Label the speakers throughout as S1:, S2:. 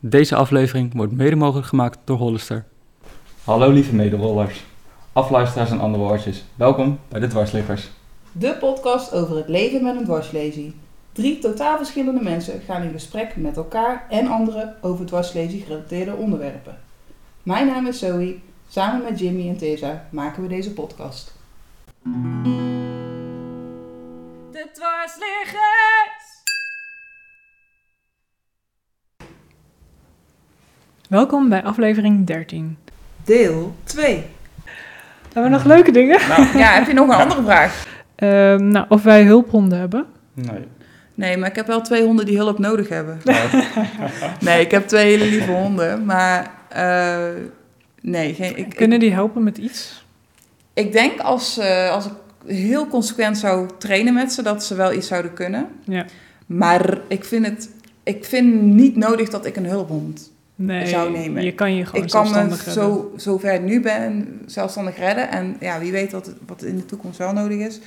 S1: Deze aflevering wordt mede mogelijk gemaakt door Hollister. Hallo lieve mederollers, afluisteraars en andere woordjes. Welkom bij de Dwarsliggers.
S2: De podcast over het leven met een dwarslesie. Drie totaal verschillende mensen gaan in gesprek met elkaar en anderen over dwarslesie gerelateerde onderwerpen. Mijn naam is Zoe. Samen met Jimmy en Tessa maken we deze podcast.
S3: De dwarsliggers!
S4: Welkom bij aflevering 13.
S2: Deel 2.
S4: Hebben we nog leuke dingen?
S2: Ja, heb je nog een andere vraag?
S4: Ehm, nou, of wij hulphonden hebben.
S1: Nee.
S2: Nee, maar ik heb wel twee honden die hulp nodig hebben. Nee, ik heb twee hele lieve honden, maar eh, nee. Geen, ik,
S4: Kunnen die helpen met iets?
S2: Ik denk als, eh, als ik heel consequent zou trainen met ze, dat ze wel iets zouden kunnen.
S4: Ja.
S2: Maar ik vind het ik vind niet nodig dat ik een hulphond.
S4: Nee,
S2: zou nemen.
S4: je kan je gewoon
S2: Ik kan me
S4: zelfstandig redden.
S2: zo, zover ik nu ben zelfstandig redden. En ja, wie weet wat, wat in de toekomst wel nodig is.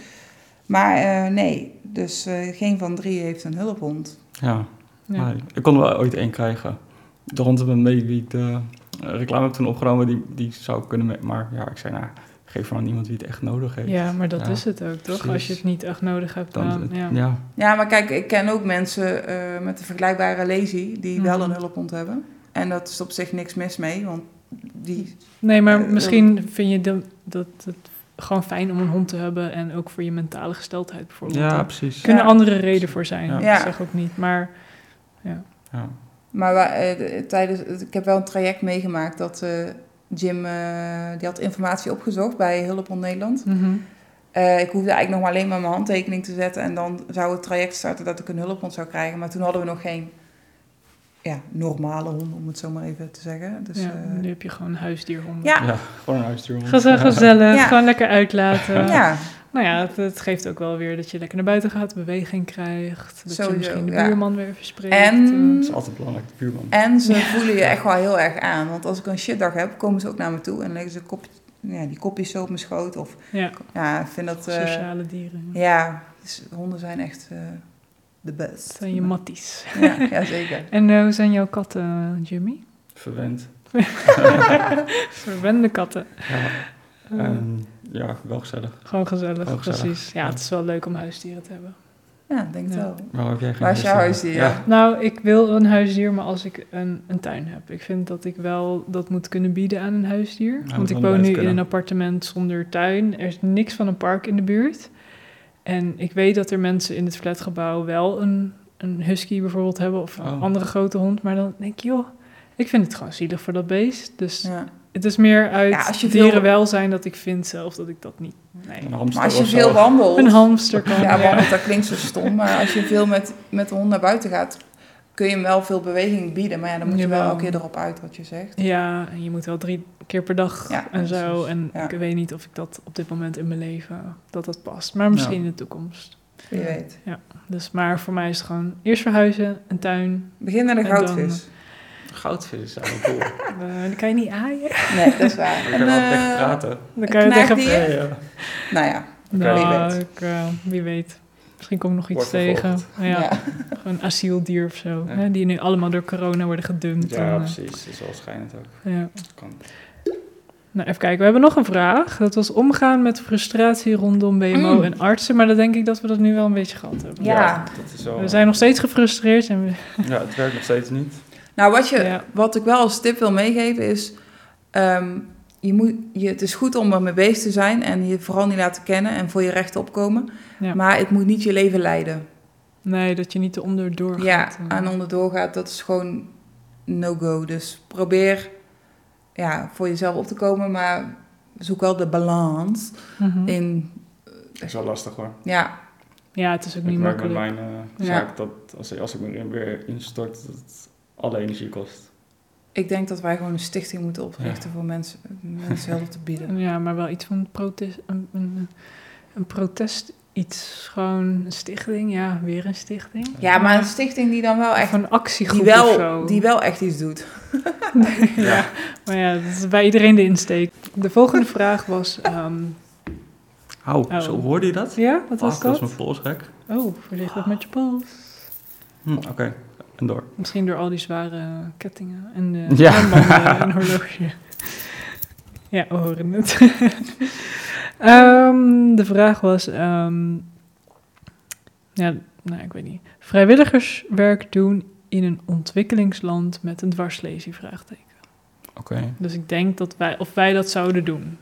S2: Maar eh, nee, dus eh, geen van drie heeft een hulphond.
S1: Ja,
S4: Ja.
S1: nee. ik kon er wel ooit één krijgen. De hond met mee die ik de eh, reclame heb toen opgenomen, die, die zou kunnen met... Maar ja, ik zei nou, geef maar aan iemand die het echt nodig heeft.
S4: Ja, maar dat
S1: eh, Ja,
S4: is het ook, toch? Als
S1: precies.
S4: je het niet echt nodig hebt,
S1: Dan,
S4: dan... ja.
S1: ja.
S2: Ja, maar kijk, ik ken ook mensen eh, met een vergelijkbare lazy die wel
S4: Mhm.
S2: een hulphond hebben. En dat is op zich niks mis mee, want die...
S4: Nee, maar
S2: Eh,
S4: misschien vind je dat, dat het gewoon fijn om een hond te hebben... en ook voor je mentale gesteldheid bijvoorbeeld.
S1: ja,
S4: Daar
S1: precies.
S4: kunnen andere redenen voor zijn,
S1: Ja.
S2: Ja.
S4: ik zeg ook niet. Maar
S1: Ja.
S2: Maar wa- eh, tijdens, ik heb wel een traject meegemaakt dat eh, Jim, eh, die had informatie opgezocht bij Hulphond Nederland.
S4: mhm.
S2: Eh, ik hoefde eigenlijk nog maar alleen maar mijn handtekening te zetten en dan zou het traject starten dat ik een hulphond zou krijgen. Maar toen hadden we nog geen ja, normale hond, om het zo maar even te zeggen. Dus,
S4: ja,
S2: ja,
S4: nu heb je gewoon een huisdierhonden.
S2: ja,
S1: Ja, gewoon een huisdier.
S4: Gezellig, gezellig,
S2: Ja.
S4: gewoon lekker uitlaten.
S2: ja,
S4: Nou ja, het, het geeft ook wel weer dat je lekker naar buiten gaat, beweging krijgt. Dat
S2: Sowieso,
S4: je misschien de
S2: ja.
S4: buurman weer verspreekt.
S2: En-
S1: Dat is altijd belangrijk, de buurman.
S2: En ze voelen je echt wel heel erg aan. Want als ik een shitdag heb, komen ze ook naar me toe en leggen ze een kop, ja, die kopjes zo op mijn schoot. Of
S4: eh, ja,
S2: ja, ik vind dat. eh,
S4: sociale dieren. Ja.
S2: ja, dus honden zijn echt eh, de best.
S4: Dat zijn je matties.
S2: Ja, ja, zeker.
S4: En eh, hoe zijn jouw katten, Jimmy?
S1: Verwend.
S4: Verwende katten.
S1: Ja,
S4: Eh,
S1: en ja wel gezellig.
S4: gewoon gezellig,
S1: gewoon gezellig,
S4: precies. Ja,
S1: ja.
S4: het is wel leuk om huisdieren te hebben.
S2: Ja, ik denk het
S4: Ja.
S2: wel.
S1: Waar heb jij geen
S2: Waar is jouw
S1: huisdier?
S2: huisdier?
S1: Ja.
S4: Nou, ik wil een huisdier, maar als ik een, een tuin heb. Ik vind dat ik wel dat moet kunnen bieden aan een huisdier.
S1: moet
S4: Want ik
S1: wel
S4: woon
S1: buiten
S4: nu in
S1: kunnen.
S4: een appartement zonder tuin. Er is niks van een park in de buurt. En ik weet dat er mensen in het flatgebouw wel een, een husky bijvoorbeeld hebben... of een
S1: Oh.
S4: andere grote hond. Maar dan denk ik, joh, ik vind het gewoon zielig voor dat beest. Dus
S2: Ja.
S4: het is meer uit
S2: Ja, als je veel-
S4: dierenwelzijn dat ik vind zelf dat ik dat niet... Nee.
S1: Een hamster
S2: Maar als je
S1: of zo.
S2: veel wandelt.
S4: Een hamster kan...
S2: ja,
S4: ja.
S2: wandelt, dat klinkt zo stom. Maar als je veel met, met de hond naar buiten gaat, kun je hem wel veel beweging bieden. Maar ja, dan moet je wel
S4: Jawel.
S2: elke keer erop uit wat je zegt.
S4: Ja, en je moet wel drie keer per dag
S2: Ja,
S4: en zo. En
S2: Ja.
S4: ik weet niet of ik dat op dit moment in mijn leven, dat dat past. Maar misschien
S1: Ja.
S4: in de toekomst.
S2: Wie weet.
S4: Dus, maar voor mij is het gewoon eerst verhuizen, een tuin.
S2: Begin met een
S4: En dan-
S2: goudvis.
S1: Goudvis is eigenlijk cool.
S2: Ah.
S1: Ik
S4: Eh, dan kan je niet aaien.
S2: Nee, dat is waar.
S1: kan wel
S2: eh,
S1: echt praten.
S4: Dan kan je tegen...
S2: knaagdier?
S1: Ja, ja.
S2: Nou ja.
S4: Nou,
S2: Wie weet.
S4: ik, eh, wie weet. Misschien kom ik nog iets
S1: Wordt
S4: tegen.
S1: vervolgd.
S4: Ja, Gewoon een asieldier of zo.
S1: Ja.
S4: Hè, die nu allemaal door corona worden gedumpt. en,
S1: Ja,
S4: eh,
S1: precies. Dat is wel schijnend ook.
S4: ja.
S1: Kan.
S4: Nou, even kijken. We hebben nog een vraag. Dat was omgaan met frustratie rondom BMO
S2: Mm.
S4: en artsen. Maar dan denk ik dat we dat nu wel een beetje gehad hebben.
S2: Ja.
S1: dat is wel...
S4: We zijn nog steeds gefrustreerd. En we-
S1: Ja, het werkt nog steeds niet.
S2: Nou, wat, je,
S4: Ja.
S2: wat ik wel als tip wil meegeven is... ehm, je moet, je, het is goed om ermee bezig te zijn en je vooral niet laten kennen en voor je rechten opkomen.
S4: Ja.
S2: Maar het moet niet je leven leiden.
S4: Nee, dat je niet te onderdoor gaat.
S2: Ja,
S4: eh.
S2: aan onderdoor gaat, dat is gewoon no-go. Dus probeer ja, voor jezelf op te komen, maar zoek wel de balans
S4: Mhm.
S2: in...
S1: Dat is wel lastig hoor.
S2: Ja,
S4: Ja, het is ook
S1: Ik
S4: niet
S1: merk met
S4: makkelijk.
S1: mijn eh,
S4: Ja.
S1: zaak dat als, als ik me erin weer instort, dat het alle energie kost.
S2: ik denk dat wij gewoon een stichting moeten oprichten voor mensen, mensen hulp te bieden.
S4: Ja, maar wel iets van een protest, een, een, een protest iets. Gewoon een stichting. Ja, weer een stichting.
S2: Ja, maar een stichting die dan wel
S4: Of
S2: echt...
S4: een actiegroep
S2: Die
S4: of
S2: wel,
S4: zo.
S2: die wel echt iets doet.
S4: ja. Maar ja, dat is bij iedereen de insteek. De volgende vraag was... ehm,
S1: Hou,
S4: Oh.
S1: zo hoorde je dat?
S4: ja, wat
S1: Ah,
S4: was
S1: dat is
S4: dat?
S1: mijn polsrek.
S4: Oh, voorzichtig met je pols.
S1: Hm, Oké. vandoor.
S4: Misschien door al die zware kettingen en de
S1: Ja.
S4: armbanden en horloge. Ja, we horen het. Ehm, de vraag was... ehm, ja, nou, ik weet niet. Vrijwilligerswerk doen in een ontwikkelingsland met een dwarslesie? Vraagteken.
S1: Oké.
S4: Dus ik denk dat wij, of wij dat zouden doen.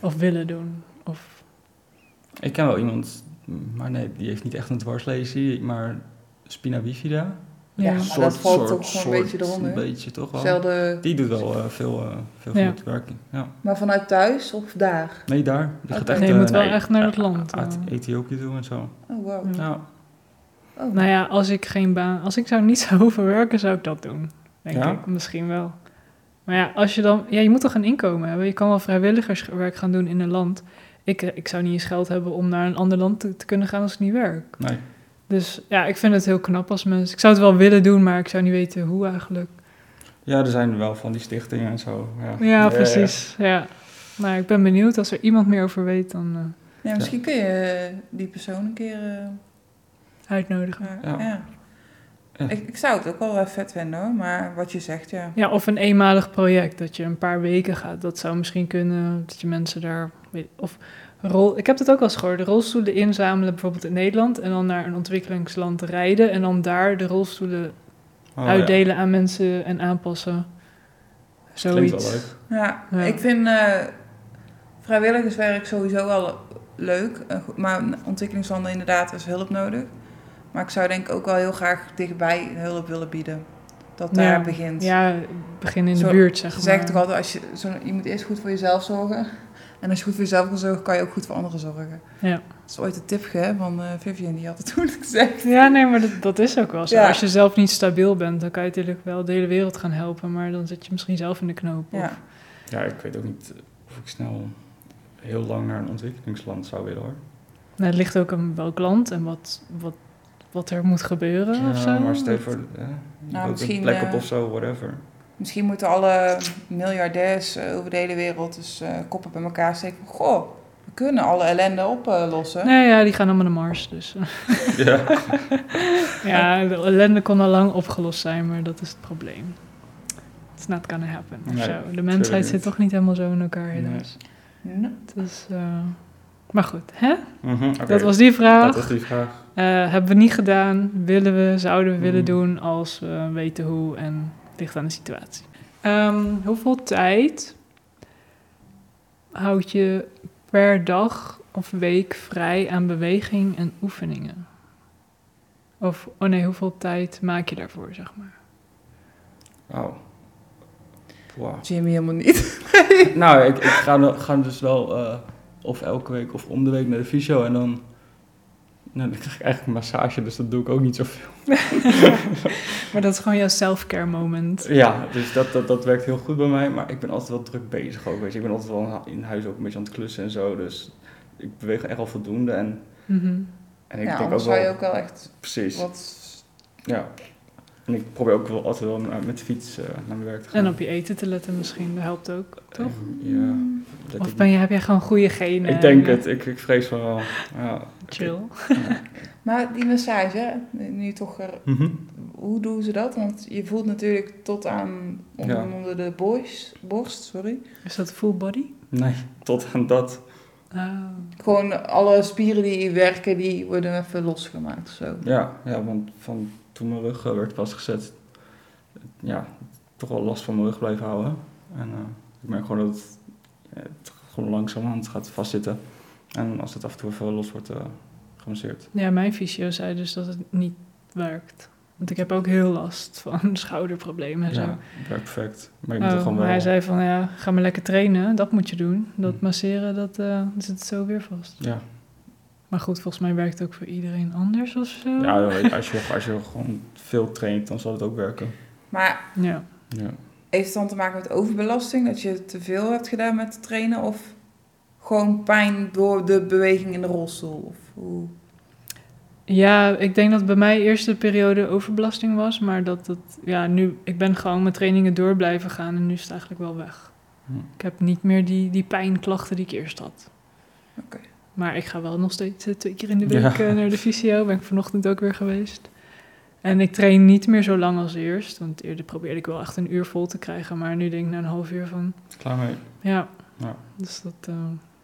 S4: Of willen doen. Of,
S1: Ik ken wel iemand, maar nee, die heeft niet echt een dwarslesie, maar spina bifida.
S2: Ja,
S4: ja.
S2: maar dat valt ook gewoon een beetje eronder.
S1: Een beetje toch wel.
S2: Hetzelfde,
S1: Die doet wel eh, veel, eh, veel
S4: Ja.
S1: goed werk. Ja.
S2: maar vanuit thuis of daar?
S1: Nee, daar. Die gaat
S2: Oké.
S1: echt,
S4: Nee, je
S1: eh,
S4: moet wel echt naar dat land,
S1: Uit
S4: eh.
S1: Ethiopië toe en zo.
S2: Oh, wow.
S4: Ja.
S1: Ja.
S2: Oh.
S4: Nou ja, als ik geen baan, als ik zou niet zou hoeven werken, zou ik dat doen. Denk
S1: Ja?
S4: ik, misschien wel. Maar ja, als je dan, ja, je moet toch een inkomen hebben. Je kan wel vrijwilligerswerk gaan doen in een land. Ik, eh, ik zou niet eens geld hebben om naar een ander land te, te kunnen gaan als ik niet werk.
S1: Nee.
S4: Dus ja, ik vind het heel knap als mensen. Ik zou het wel willen doen, maar ik zou niet weten hoe eigenlijk.
S1: ja, er zijn wel van die stichtingen en zo. Ja,
S4: Ja, precies. Ja. Nou, ik ben benieuwd als er iemand meer over weet dan eh,
S2: Ja, misschien kun je eh, die persoon een keer... eh,
S4: uitnodigen.
S2: naar-
S1: Ja.
S2: ja.
S1: Ja.
S2: Ik, ik zou het ook wel eh, vet vinden hoor, maar wat je zegt, ja.
S4: Ja, of een eenmalig project dat je een paar weken gaat. Dat zou misschien kunnen dat je mensen daar. weet- Of rol, ik heb dat ook al eens gehoord. Rolstoelen inzamelen bijvoorbeeld in Nederland. En dan naar een ontwikkelingsland rijden. En dan daar de rolstoelen
S1: Oh, ja.
S4: uitdelen aan mensen en aanpassen.
S1: Klinkt
S4: Zoiets.
S1: wel leuk.
S2: Ja,
S4: Ja.
S2: ik vind eh, vrijwilligerswerk sowieso wel leuk. eh, goed, maar in ontwikkelingslanden inderdaad is hulp nodig. Maar ik zou denk ik ook wel heel graag dichtbij hulp willen bieden. Dat daar
S4: Ja.
S2: begint.
S4: Ja, begin in de
S2: Zo-
S4: buurt, zeg
S2: Ze
S4: maar.
S2: zeggen toch altijd, als je, zo, je moet eerst goed voor jezelf zorgen. En als je goed voor jezelf kan zorgen, kan je ook goed voor anderen zorgen.
S4: Ja.
S2: Dat is ooit een tipje hè, van eh, Vivian, die had het toen gezegd.
S4: Ja, nee, maar dat, dat is ook wel zo.
S2: Ja.
S4: Als je zelf niet stabiel bent, dan kan je natuurlijk wel de hele wereld gaan helpen. Maar dan zit je misschien zelf in de knoop.
S2: Ja.
S4: Of,
S1: Ja, ik weet ook niet of ik snel heel lang naar een ontwikkelingsland zou willen hoor.
S4: nou, het ligt ook aan welk land en wat, wat, wat er moet gebeuren of zo.
S1: Ja, maar stel je voor, eh, je bouwt
S2: Nou, misschien,
S1: een plek
S2: eh,
S1: op of zo, whatever.
S2: Misschien moeten alle miljardairs eh, over de hele wereld dus eh, koppen bij elkaar steken. van, Goh, we kunnen alle ellende oplossen.
S4: Nee, ja, die gaan allemaal naar Mars. Dus
S1: ja.
S4: ja, de ellende kon al lang opgelost zijn, maar dat is het probleem. It's not gonna happen. of
S1: Nee,
S4: zo. De
S1: tuurlijk
S4: mensheid
S1: niet.
S4: zit toch niet helemaal zo in elkaar,
S1: Nee.
S4: helaas.
S2: Nou,
S4: Dus, eh, maar goed, hè?
S1: Mhm, oké.
S4: dat was die vraag.
S1: Dat was die vraag.
S4: Eh, hebben we niet gedaan, willen we, zouden we
S1: Mm.
S4: willen doen als we weten hoe en ligt aan de situatie. Ehm, hoeveel tijd houd je per dag of week vrij aan beweging en oefeningen? Of, oh nee, hoeveel tijd maak je daarvoor, zeg maar?
S1: Oh. Wow.
S2: Jimmy helemaal niet.
S1: nou, ik, ik ga, dan- ga dus wel eh, of elke week of om de week naar de fysio en dan... Nou, dan krijg ik eigenlijk een massage, dus dat doe ik ook niet zoveel.
S4: Maar dat is gewoon jouw self-care moment.
S1: Ja, dus dat, dat, dat werkt heel goed bij mij, maar ik ben altijd wel druk bezig ook, weet je. Ik ben altijd wel in hu- in huis ook een beetje aan het klussen en zo, dus ik beweeg echt al voldoende en,
S4: Mhm.
S1: en ik
S2: Ja,
S1: denk ook
S2: anders zou je
S1: wel...
S2: ook wel echt
S1: Precies,
S2: wat...
S1: ja. En ik probeer ook wel altijd wel naar- met de fiets eh, naar mijn werk te gaan.
S4: En op je eten te letten misschien, dat helpt ook, toch?
S1: Ja, let
S4: Of
S1: ik
S4: ben je, heb jij gewoon goede genen?
S1: Ik denk
S4: en, eh,
S1: het, ik, ik vrees van wel. Ja.
S4: Chill.
S2: Maar die massage, hè, nu toch... er-
S1: Mhm.
S2: Hoe doen ze dat? Want je voelt natuurlijk tot aan onder,
S1: Ja.
S2: onder de boys, borst, sorry.
S4: Is dat full body?
S1: Nee, tot aan dat. Ehm,
S4: Ah.
S2: Gewoon alle spieren die werken, die worden even losgemaakt of zo.
S1: Ja, ja, want van toen mijn rug eh, werd vastgezet, ja, toch wel last van mijn rug blijven houden. En eh, ik merk gewoon dat het, eh, het gewoon langzamerhand gaat vastzitten. En als het af en toe even los wordt eh gemasseerd.
S4: Ja, mijn fysio zei dus dat het niet werkt. Want ik heb ook heel last van schouderproblemen en zo.
S1: Ja, het werkt perfect. Maar je moet er
S4: Oh,
S1: gewoon wel... Hm.
S4: maar hij zei van, ja, ga maar lekker trainen. Dat moet je doen. Dat masseren, dat eh, dan zit het zo weer vast.
S1: Ja,
S4: Maar goed, volgens mij werkt het ook voor iedereen anders of zo.
S1: ja als, je, als je gewoon veel traint, dan zal het ook werken.
S2: Maar
S4: Ja.
S1: Ja.
S2: heeft het dan te maken met overbelasting? Dat je te veel hebt gedaan met trainen? Of gewoon pijn door de beweging in de rolstoel? Of hoe?
S4: Ja, ik denk dat bij mij eerst de periode overbelasting was. Maar dat het, ja, nu, ik ben gewoon mijn trainingen door blijven gaan. En nu is het eigenlijk wel weg.
S1: Hm.
S4: Ik heb niet meer die, die pijnklachten die ik eerst had.
S2: Oké.
S4: Maar ik ga wel nog steeds eh, twee keer in de week
S1: Ja.
S4: eh, naar de fysio. Ben ik vanochtend ook weer geweest. En ik train niet meer zo lang als eerst. Want eerder probeerde ik wel echt een uur vol te krijgen. Maar nu denk ik na een half uur van...
S1: Klaar mee.
S4: Ja.
S1: Ja.
S4: Dus dat, eh,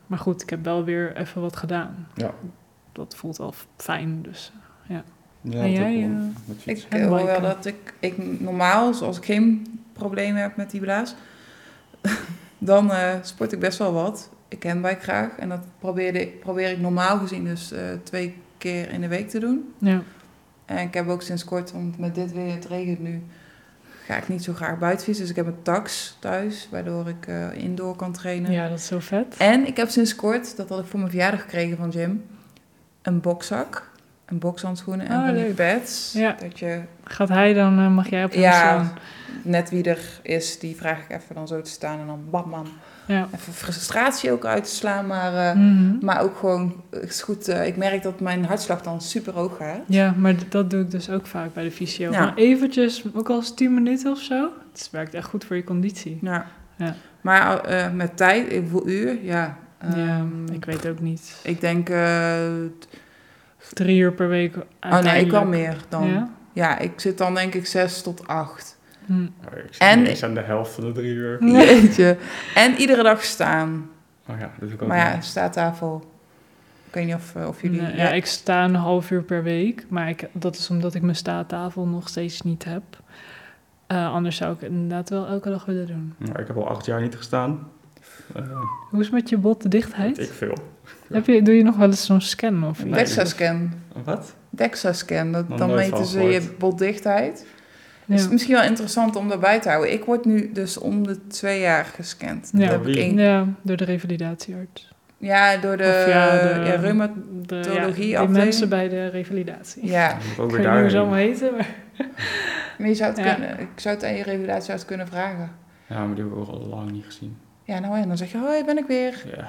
S4: maar goed, ik heb wel weer even wat gedaan.
S1: Ja.
S4: Dat voelt al f- fijn. Dus.
S1: Ja,
S4: En
S1: dat
S4: jij,
S1: ook wel.
S4: eh,
S1: Met fiets.
S2: Ik
S4: En
S2: eh, hoor wel
S4: biken.
S2: dat ik, ik normaal, zoals ik geen problemen heb met die blaas, dan eh, sport ik best wel wat. Ik handbike graag en dat probeerde, ik- probeer ik normaal gezien dus eh, twee keer in de week te doen.
S4: Ja.
S2: En ik heb ook sinds kort, want met dit weer, het regent nu, ga ik niet zo graag buiten fietsen. Dus ik heb een tax thuis, waardoor ik eh, indoor kan trainen.
S4: ja, dat is zo vet.
S2: En ik heb sinds kort, dat had ik voor mijn verjaardag gekregen van Jim, een bokzak, een bokshandschoenen en
S4: Oh,
S2: van die
S4: leuk.
S2: pads.
S4: Ja.
S2: Dat je
S4: Gaat hij dan, eh, mag jij op hem
S2: ja,
S4: slaan?
S2: net wie er is, die vraag ik even dan zo te staan en dan bam, bam.
S4: Ja.
S2: Even frustratie ook uit te slaan, maar, eh,
S4: Mhm.
S2: maar ook gewoon, eh, is goed, eh, ik merk dat mijn hartslag dan super hoog gaat.
S4: Ja, maar d- dat doe ik dus ook vaak bij de fysio.
S2: Ja.
S4: Maar eventjes, ook al is het 10 minuten of zo. Het werkt echt goed voor je conditie.
S2: Ja.
S4: Ja.
S2: Nou, Maar eh, met tijd, hoeveel uur? Ja. ehm,
S4: ja, ik
S2: ik,
S4: weet ook niet.
S2: denk, eh,
S4: Drie uur per week
S2: oh nee, ik
S4: uiteindelijk.
S2: wel meer dan. Ja?
S4: Ja?
S2: ik zit dan denk ik zes tot acht.
S4: Hm.
S1: Maar Oh, ik zit
S2: En-
S1: niet eens aan de helft van de drie uur.
S4: Nee.
S2: Jeetje. En iedere dag staan.
S1: Oh ja, dat is ook
S2: Maar
S1: wel-
S2: ja, staattafel. Ik weet niet of, eh, of jullie...
S4: Nee, ja, ik sta een half uur per week, maar ik, dat is omdat ik mijn staattafel nog steeds niet heb. Eh, anders zou ik het inderdaad wel elke dag willen doen.
S1: Nou, ik heb al acht jaar niet gestaan. Eh,
S4: Hoe is het met je botdichtheid?
S1: weet ik veel.
S4: Heb je, doe je nog wel eens zo'n scan of
S1: Nee.
S4: iets?
S2: Dexa-scan.
S1: Wat?
S2: DEXA-scan. Dat,
S1: Nog
S2: dan
S1: nooit
S2: meten
S1: van
S2: ze je
S1: gehoord.
S2: botdichtheid.
S4: Ja.
S2: Is misschien wel interessant om daarbij te houden. Ik word nu dus om de twee jaar gescand.
S4: Ja.
S2: Ja, heb ik
S1: Wie?
S2: één-
S4: Ja, door de revalidatiearts.
S2: ja door de,
S4: Of ja, de-
S2: ja, reumat-
S4: De, ja,
S2: Theologie
S4: die
S2: afdeling?
S4: mensen bij de revalidatie.
S2: Ja,
S1: Ik moet ook
S4: Ik
S1: weer
S4: weet niet hoe
S1: daar.
S4: ze allemaal heten, maar...
S2: maar je zou het
S4: Ja.
S2: kunnen, ik zou het aan je revalidatiearts kunnen vragen.
S1: Ja, maar die hebben we ook al lang niet gezien.
S2: Ja, nou en dan zeg je, hoi, ben ik weer.
S1: Ja.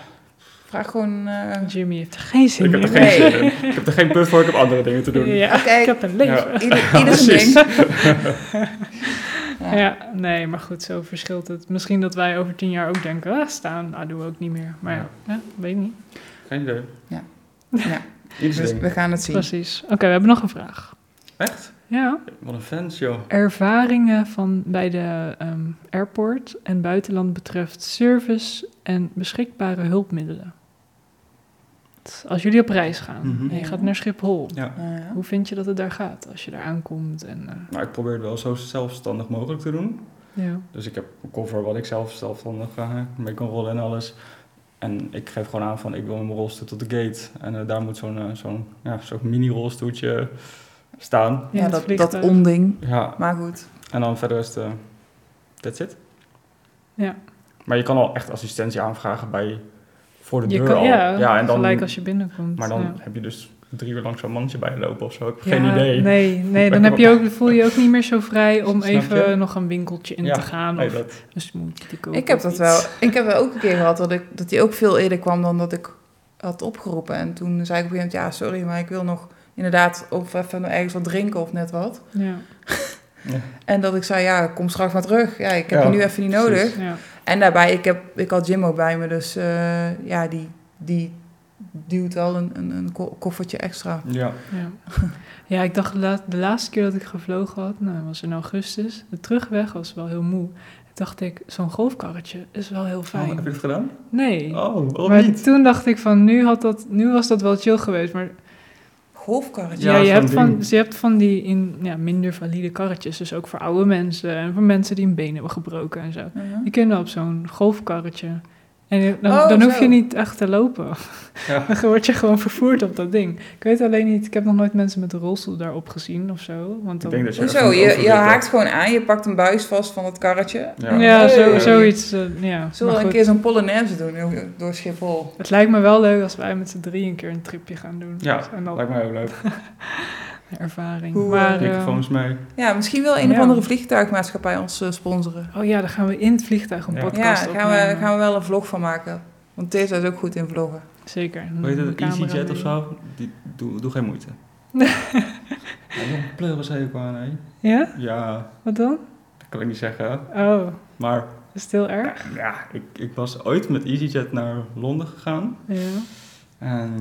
S2: Vraag gewoon... eh,
S4: Jimmy heeft er geen zin
S1: Ik heb
S4: meer.
S1: er
S2: Nee.
S1: geen zin in. Ik heb er geen puff voor, ik heb andere dingen te doen.
S4: Ja,
S2: Oké.
S4: ik heb een leven.
S2: Ieder, ieder zijn
S4: Precies.
S2: ding.
S4: Ja. nee, maar goed, zo verschilt het. Misschien dat wij over tien jaar ook denken, ah, staan, nou doen we ook niet meer. Maar ja,
S1: Ja.
S4: weet ik niet.
S1: Geen idee.
S2: Ja. Ja.
S1: Iets
S2: Dus
S1: ding.
S2: we gaan het zien.
S4: Precies. Oké, we hebben nog een vraag.
S1: Echt?
S4: Ja.
S1: Wat een fans, joh.
S4: Ervaringen van bij de ehm, airport en buitenland betreft service en beschikbare hulpmiddelen. Als jullie op reis gaan
S1: Mhm.
S4: en je gaat naar Schiphol,
S1: Ja.
S2: Nou Ja.
S4: hoe vind je dat het daar gaat als je daar aankomt? En, eh,
S1: Nou, ik probeer het wel zo zelfstandig mogelijk te doen.
S4: ja.
S1: Dus ik heb een koffer wat ik zelf zelfstandig eh, mee kan rollen en alles. En ik geef gewoon aan van ik wil met mijn rolstoel tot de gate. En eh, daar moet zo'n eh, zo'n ja, zo'n mini-rolstoeltje staan.
S4: In
S2: Ja,
S4: het
S2: dat, dat
S4: vliegtuig.
S2: onding.
S1: Ja,
S2: Maar goed.
S1: en dan verder is het... eh, that's it.
S4: Ja.
S1: Maar je kan al echt assistentie aanvragen bij... Voor de
S4: Je
S1: deur
S4: kan,
S1: al.
S4: ja,
S1: en dan,
S4: gelijk als je binnenkomt.
S1: Maar dan
S4: ja.
S1: heb je dus drie uur lang zo'n mandje bij je lopen of zo. Ik heb
S4: Ja,
S1: geen idee.
S4: Nee, nee dan heb je ook, voel je je ook niet meer zo vrij om
S1: Snap je?
S4: even nog een winkeltje in
S1: Ja,
S4: te gaan.
S1: Nee,
S4: of
S1: dat,
S4: een smoothie te kopen.
S2: Ik heb
S4: of
S2: dat
S4: iets.
S2: wel. Ik heb wel ook een keer gehad dat, ik, dat die ook veel eerder kwam dan dat ik had opgeroepen. En toen zei ik op een gegeven moment, ja, sorry, maar ik wil nog inderdaad of even ergens wat drinken of net wat.
S4: Ja,
S2: En dat ik zei, ja, kom straks maar terug. Ja, ik heb
S1: Ja,
S2: je nu even niet
S1: precies.
S2: nodig.
S4: ja.
S2: En daarbij, ik, heb, ik had Jim ook bij me, dus eh, ja, die, die duwt wel een, een, een ko- koffertje extra.
S1: ja.
S4: Ja. ja, ik dacht la- de laatste keer dat ik gevlogen had, nou, was in augustus. De terugweg was wel heel moe. Toen dacht ik, zo'n golfkarretje is wel heel
S1: Oh,
S4: fijn.
S1: heb je het gedaan?
S4: Nee.
S1: Oh, waarom
S4: maar
S1: niet?
S4: toen dacht ik van, nu, had dat, nu was dat wel chill geweest. Maar
S2: Golfkarretje.
S4: ja,
S1: Ja,
S4: je,
S1: zo'n
S4: hebt van,
S1: ding.
S4: dus je hebt van die in, ja, minder valide karretjes. Dus ook voor oude mensen en voor mensen die een been hebben gebroken en zo.
S2: Ja.
S4: Die kunnen op zo'n golfkarretje. En je- dan,
S2: Oh,
S4: dan hoef
S2: zo.
S4: je niet echt te lopen.
S1: Ja.
S4: Dan word je gewoon vervoerd op dat ding. Ik weet alleen niet, ik heb nog nooit mensen met een rolstoel daarop gezien of zo. Want
S1: Ik
S4: dan,
S1: denk dat je
S2: Hoezo?
S1: ergens
S2: Je,
S1: overwipt
S2: je
S1: hebt.
S2: haakt gewoon aan, je pakt een buis vast van het karretje.
S1: Ja.
S4: ja,
S2: Nee.
S4: zo, zoiets. eh, ja.
S2: Zullen we
S4: Maar
S2: een
S4: goed,
S2: keer zo'n Polonaise doen door Schiphol?
S4: Het lijkt me wel leuk als wij met z'n drie een keer een tripje gaan doen.
S1: Ja,
S4: en dan
S1: lijkt mij heel leuk.
S4: ervaring.
S2: Hoe, eh,
S4: maar, eh,
S1: Microfoons mee.
S2: Ja, misschien wil een
S4: Ja.
S2: of andere vliegtuigmaatschappij ons eh, sponsoren.
S4: oh ja, dan gaan we in het vliegtuig een
S1: Ja.
S2: Ja,
S4: podcast
S2: daar gaan we,
S4: opnemen.
S2: gaan we wel een vlog van maken. Want Tessa is ook goed in vloggen.
S4: Zeker.
S1: Hoe heet
S4: Een
S1: het?
S4: camera
S1: EasyJet of
S4: mee.
S1: zo? Die, doe, doe geen moeite. Pleuren zei ik aan, hè?
S4: Ja?
S1: Ja,
S4: Wat dan?
S1: dat kan ik niet zeggen.
S4: Oh,
S1: Maar
S4: is het heel erg?
S1: ja, ik, ik was ooit met EasyJet naar Londen gegaan.
S4: Ja.
S1: En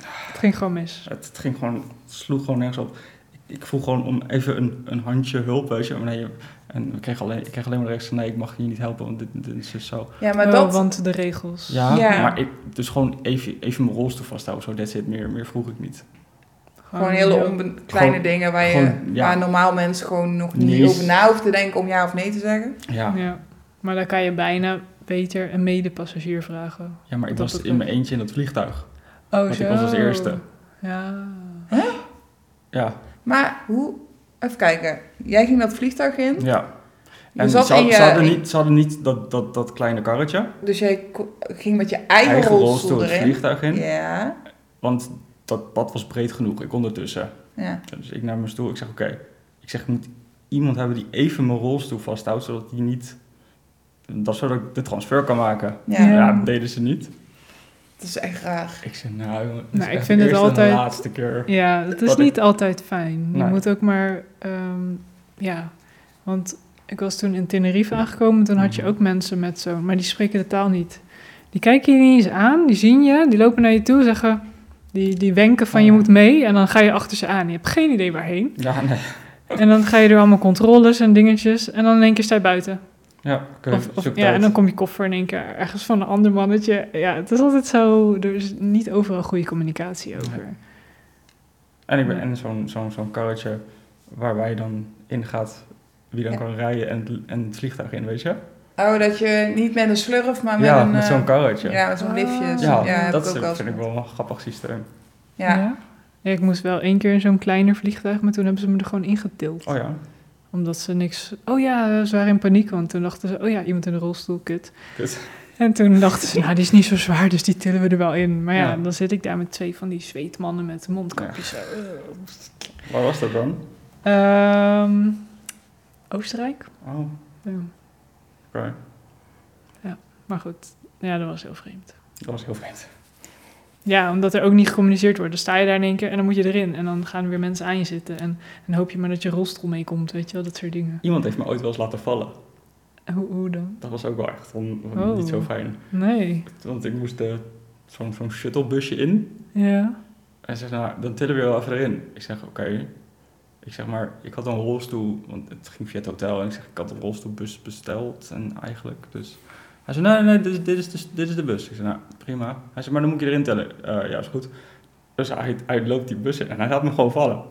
S4: Het ging gewoon mis.
S1: het, het ging gewoon, het sloeg gewoon nergens op. Ik ik vroeg gewoon om even een, een handje hulp, weet je. Maar nee, en we kregen alleen, ik kreeg alleen maar rechts nee, ik mag je niet helpen, want dit, dit is dus zo.
S2: Ja, maar
S4: Oh,
S2: dat...
S4: want de regels.
S1: Ja,
S2: Ja.
S1: maar ik, dus gewoon even, even mijn rolstoel vasthouden, zo, that's it. Meer, meer vroeg ik niet.
S2: Gewoon hele
S4: heel-
S2: onbe- kleine
S1: Oh, Gewoon-
S2: dingen waar, je,
S1: gewoon, ja.
S2: waar normaal mensen gewoon nog niet
S1: Niet eens.
S2: over na hoeven te denken om ja of nee te zeggen.
S1: Ja,
S4: Ja. Maar dan kan je bijna beter een medepassagier vragen.
S1: ja maar ik
S4: Dat
S1: was
S4: ook
S1: in mijn eentje in dat vliegtuig.
S4: Oh,
S1: Want ik was als
S4: zo.
S1: eerste.
S4: Ja.
S1: Ja,
S2: Maar hoe... Even kijken. Jij ging dat vliegtuig in.
S1: ja.
S2: Hm? Je
S1: En ze,
S2: zat in
S1: had-
S2: je- e-
S1: ze hadden niet, ze hadden niet dat, dat, dat kleine karretje.
S2: Dus jij ko- ging met je eigen, rolstoel,
S1: het
S2: erin.
S1: vliegtuig in.
S2: Ja.
S1: Want dat pad was breed genoeg, ik kon ertussen.
S2: ja.
S1: Dus ik naar mijn stoel, ik zeg oké. Ik zeg, ik moet iemand hebben die even mijn rolstoel vasthoudt, zodat die niet... Dat zodat ik de transfer kan maken.
S2: Ja.
S1: Ja,
S4: Ja.
S1: dat deden ze niet.
S2: Dat is echt raar.
S1: Ik zeg, nou jongen, dit
S4: Nou,
S1: is
S4: ik
S1: echt
S4: vind
S1: de
S4: het
S1: eerste en de
S4: altijd-
S1: laatste keer.
S4: Ja, het is
S1: Wat
S4: niet altijd fijn. Je
S1: Nee.
S4: moet ook maar... ehm, ja, want ik was toen in Tenerife aangekomen. Toen had je
S1: Mhm.
S4: ook mensen met zo'n... Maar die spreken de taal niet. Die kijken je niet eens aan. Die zien je. Die lopen naar je toe. Zeggen... Die, die wenken van je
S1: Oh.
S4: moet mee. En dan ga je achter ze aan. Je hebt geen idee waarheen.
S1: Ja, nee.
S4: En dan ga je door allemaal controles en dingetjes. En dan in één keer sta je buiten.
S1: Ja, oké.
S4: Of, of-
S1: zoek
S4: ja,
S1: tijd.
S4: en dan kom je koffer in één keer ergens van een ander mannetje. Ja, het is altijd zo. Er is niet overal goede communicatie over.
S1: En ik ben en zo'n zo'n zo'n karretje waarbij je dan ingaat wie dan
S2: Ja.
S1: kan rijden en, het- en het vliegtuig in, weet je?
S2: Oh, dat je niet met een slurf, maar met
S1: ja,
S2: een...
S1: met
S2: eh,
S1: zo'n karretje.
S2: Ja, met zo'n
S4: Ah.
S2: liftje.
S1: Ja,
S2: Ja, heb
S1: dat
S2: ik ook
S1: is-
S2: wel eens
S1: vind ik
S2: gehad.
S1: wel een grappig systeem.
S2: Ja.
S4: Ja, ik moest wel één keer in zo'n kleiner vliegtuig, maar toen hebben ze me er gewoon ingetild.
S1: Oh ja,
S4: Omdat ze niks. Oh ja, ze waren in paniek, want toen dachten ze: oh ja, iemand in de rolstoel, kut.
S1: kut.
S4: En toen dachten ze: nou, die is niet zo zwaar, dus die tillen we er wel in. Maar ja,
S1: Ja.
S4: dan zit ik daar met twee van die zweetmannen met mondkapjes. zo.
S1: Waar was dat dan?
S4: Ehm, Oostenrijk?
S1: Oh, oké.
S4: Ja. Maar goed, ja, dat was heel vreemd.
S1: Dat was heel vreemd.
S4: Ja, omdat er ook niet gecommuniceerd wordt. Dan sta je daar in één keer en dan moet je erin. En dan gaan er weer mensen aan je zitten. En dan hoop je maar dat je rolstoel meekomt, weet je wel, dat soort dingen.
S1: Iemand heeft me ooit wel eens laten vallen.
S4: Hoe, hoe dan?
S1: Dat was ook wel echt on- on-
S4: Oh.
S1: niet zo fijn.
S4: Nee.
S1: Want ik moest eh, zo'n zo'n shuttlebusje in.
S4: Ja.
S1: Hij zegt, nou, dan tillen we je wel even erin. Ik zeg, oké. Ik zeg maar, ik had een rolstoel, want het ging via het hotel. En ik zeg, ik had een rolstoelbus besteld en eigenlijk, dus... Hij zei, nee, nee, dit, is- dit, is, de, dit is de bus. Ik zei, nou, prima. Hij zei, maar dan moet je erin tellen. Eh, ja, is goed. Dus hij, hij loopt die bus in en hij laat me gewoon vallen.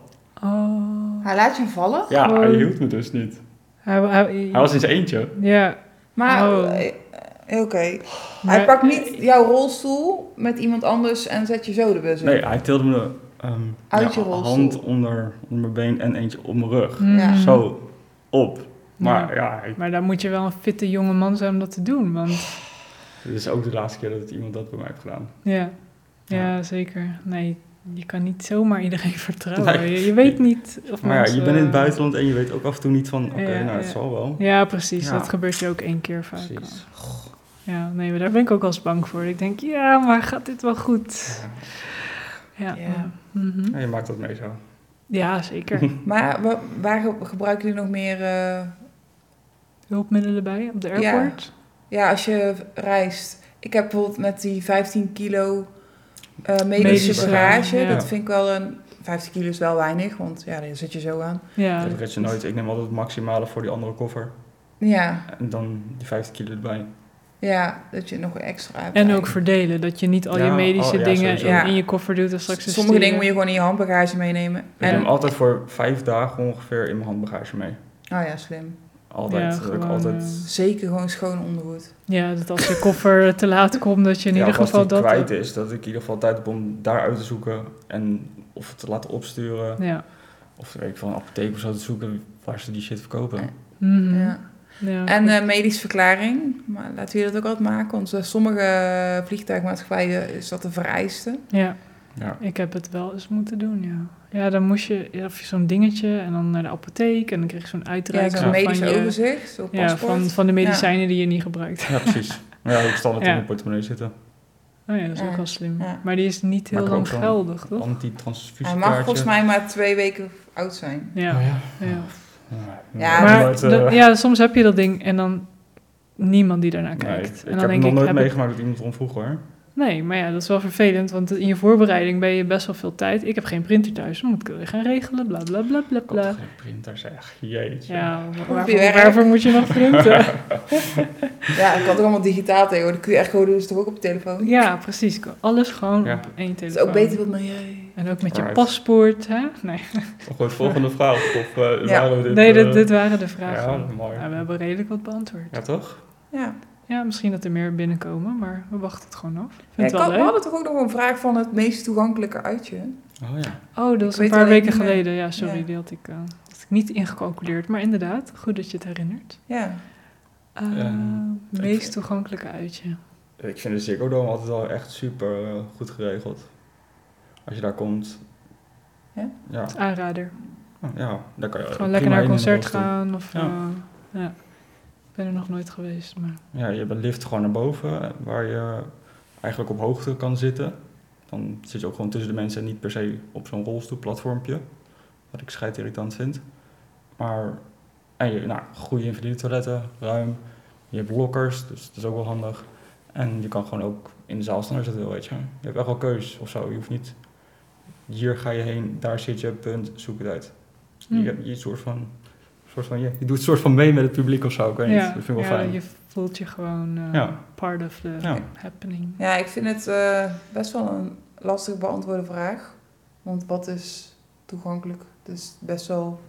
S4: Oh.
S2: Hij laat je vallen?
S1: Ja,
S4: Gewoon-
S1: hij hield me dus niet.
S4: Hij, hij-
S1: Hij was in zijn eentje.
S4: Ja.
S2: Maar,
S4: Oh.
S2: eh, eh, oké. Hij
S4: maar-
S2: pakt niet jouw rolstoel met iemand anders en zet je zo de bus in.
S1: Dus Nee, hij tilde me ehm
S2: Uit
S1: ja,
S2: je rolstoel.
S1: hand onder, onder mijn been en eentje op mijn rug.
S4: Mm.
S2: Ja.
S1: Zo, op. Maar
S4: Ja.
S1: ja, ik-
S4: Maar dan moet je wel een fitte jonge man zijn om dat te doen. Want
S1: dit is ook de laatste keer dat het iemand dat bij mij heeft gedaan.
S4: ja. Ja, zeker. Nee, je kan niet zomaar iedereen vertrouwen.
S1: Nee.
S4: Je, je weet niet of
S1: Maar ja, je
S4: mensen-
S1: bent in het buitenland en je weet ook af en toe niet van, oké,
S4: Ja,
S1: nou, het
S4: ja.
S1: zal wel.
S4: Ja, precies.
S1: Ja.
S4: Dat gebeurt je ook één keer vaak.
S1: Precies.
S4: Ja, nee, maar daar ben ik ook wel eens bang voor. Ik denk, ja, maar gaat dit wel goed? Ja,
S2: Ja.
S4: ja. Mhm.
S1: Ja, je maakt dat mee zo.
S4: ja zeker.
S2: Maar wa- waar ge- gebruiken jullie nog meer... eh,
S4: Hulpmiddelen bij op de
S2: Ja.
S4: airport.
S2: ja, als je reist. Ik heb bijvoorbeeld met die 15 kilo eh, medische
S4: Medische
S2: bagage.
S4: bagage, ja.
S2: Dat vind ik wel een... 15 kilo is wel weinig, want ja, daar zit je zo aan.
S4: Ja,
S1: Dat red je nooit. Ik neem altijd het maximale voor die andere koffer.
S2: Ja,
S1: En dan die 50 kilo erbij.
S2: ja dat je nog extra hebt.
S4: En ook
S2: eigenlijk.
S4: verdelen, dat je niet al je
S1: Ja,
S4: medische
S1: oh, ja,
S4: dingen
S1: sowieso.
S4: in,
S2: Ja.
S4: in je koffer doet en straks eh,
S2: Sommige dingen moet je gewoon in je handbagage meenemen.
S1: Ik
S2: En,
S1: neem
S2: oh
S1: altijd voor vijf dagen ongeveer in mijn handbagage mee.
S2: Oh ja, slim.
S1: Altijd.
S4: Ja,
S1: Dat ik
S4: gewoon,
S1: altijd...
S2: Zeker gewoon schoon ondergoed.
S4: Ja, dat als je koffer te laat komt, dat je in
S1: Ja,
S4: ieder
S1: of als
S4: geval
S1: die
S4: dat... eh,
S1: kwijt is, dat ik in ieder geval tijd heb om daar uit te zoeken. En of te laten opsturen.
S4: Ja.
S1: Of weet ik, van een apotheek of zo te zoeken waar ze die shit verkopen.
S4: Mhm.
S2: Ja.
S4: Ja,
S2: En
S4: goed.
S2: eh medische verklaring, maar laten jullie dat ook altijd maken. Want eh, sommige eh, vliegtuigmaatschappijen is dat een vereiste.
S4: ja,
S1: Ja.
S4: ik heb het wel eens moeten doen, ja. Ja, dan moest je, ja, of je zo'n dingetje en dan naar de apotheek en dan kreeg je zo'n
S2: Ja,
S4: uitreiking
S2: zo'n medisch
S4: van, je,
S2: overzicht, zo'n
S4: ja,
S2: paspoort.
S4: van, van de medicijnen die je niet gebruikt.
S1: Ja, precies. ja, ik zal het
S4: Ja.
S1: in mijn portemonnee zitten.
S4: Oh ja, dat is
S2: Ja,
S4: ook wel slim.
S2: ja.
S4: Maar die is niet heel
S1: Maar
S4: lang
S1: ook zo'n
S4: geldig, toch?
S2: Hij
S1: Antitransfusiekaartje.
S2: mag volgens mij maar twee weken oud zijn.
S4: Ja.
S1: Oh, ja.
S4: ja.
S2: Ja,
S4: Maar
S1: nooit, eh,
S4: dat- ja, soms heb je dat ding en dan niemand die daarnaar
S1: nee,
S4: kijkt.
S1: ik
S4: en dan
S1: heb
S4: denk
S1: nog
S4: ik,
S1: nooit
S4: heb ik-
S1: meegemaakt dat iemand erom vroeg hoor.
S4: Nee, maar ja, dat is wel vervelend, want in je voorbereiding ben je best wel veel tijd. Ik heb geen printer thuis, dan moet ik het weer gaan regelen, bla bla bla bla
S1: Ik had
S4: bla.
S1: toch geen printer, zeg. Jeetje.
S4: Ja, waarvoor,
S2: werk.
S4: waarvoor moet je nog printen?
S2: Ja, ik had het allemaal digitaal tegenwoordig. De QR-code is toch ook op de telefoon?
S4: ja, precies. Alles gewoon
S1: Ja.
S4: op één
S2: Het
S4: telefoon.
S2: is ook beter voor het milieu.
S4: En ook met je
S1: Right.
S4: paspoort, hè? Nee,
S1: Nog een Oh, volgende vraag. Of eh,
S2: Ja.
S1: waren we dit...
S4: nee
S1: eh,
S4: dit, dit waren de
S1: Ja,
S4: vragen.
S1: mooi.
S4: Nou, we hebben redelijk wat beantwoord.
S1: Ja, toch?
S2: Ja.
S4: Ja, misschien dat er meer binnenkomen, maar we wachten het gewoon af.
S2: Ja,
S4: Vind
S2: ik
S4: het wel
S2: had, we
S4: leuk.
S2: hadden toch ook nog een vraag van het meest toegankelijke uitje.
S1: Oh ja.
S4: Oh,
S2: Ik
S4: dat was een
S2: weet
S4: paar
S2: alleen
S4: weken
S2: niet meer.
S4: geleden. Ja, sorry,
S2: Ja.
S4: die had ik, eh, had ik niet ingecalculeerd. Maar inderdaad, goed dat je het herinnert.
S2: Ja.
S4: Eh,
S1: Ehm,
S4: meest
S1: ik-
S4: toegankelijke uitje.
S1: Ik vind de Ziggo Dome altijd wel echt super eh, goed geregeld. Als je daar komt.
S2: Ja?
S1: Ja,
S4: Aanrader.
S1: ja daar kan je
S4: Gewoon
S1: Eh, prima
S4: lekker naar een
S1: in en
S4: concert
S1: alles doen.
S4: gaan. Of,
S1: Ja.
S4: eh, ja. Ik ben er nog nooit geweest, maar...
S1: Ja, je hebt een lift gewoon naar boven, eh, waar je eigenlijk op hoogte kan zitten. Dan zit je ook gewoon tussen de mensen en niet per se op zo'n rolstoelplatformpje. Wat ik scheid irritant vind. Maar, en je, nou, goede invalide toiletten, ruim. Je hebt lokkers, dus dat is ook wel handig. En je kan gewoon ook in de zaal staan als je dat wil, weet je. Je hebt echt wel keus of zo. Je hoeft niet, hier ga je heen, daar zit je, punt, zoek het uit. Dus
S4: Hm.
S1: Je, hebt, je, soort van, soort van, je, je doet soort van mee met het publiek of zo, ik weet niet. Dat vind ik wel
S4: ja,
S1: fijn.
S4: je voelt je gewoon eh,
S1: Ja.
S4: part of the
S1: Ja.
S4: happening.
S2: ja, ik vind het eh, best wel een lastig beantwoorde vraag. Want wat is toegankelijk? Dus best wel...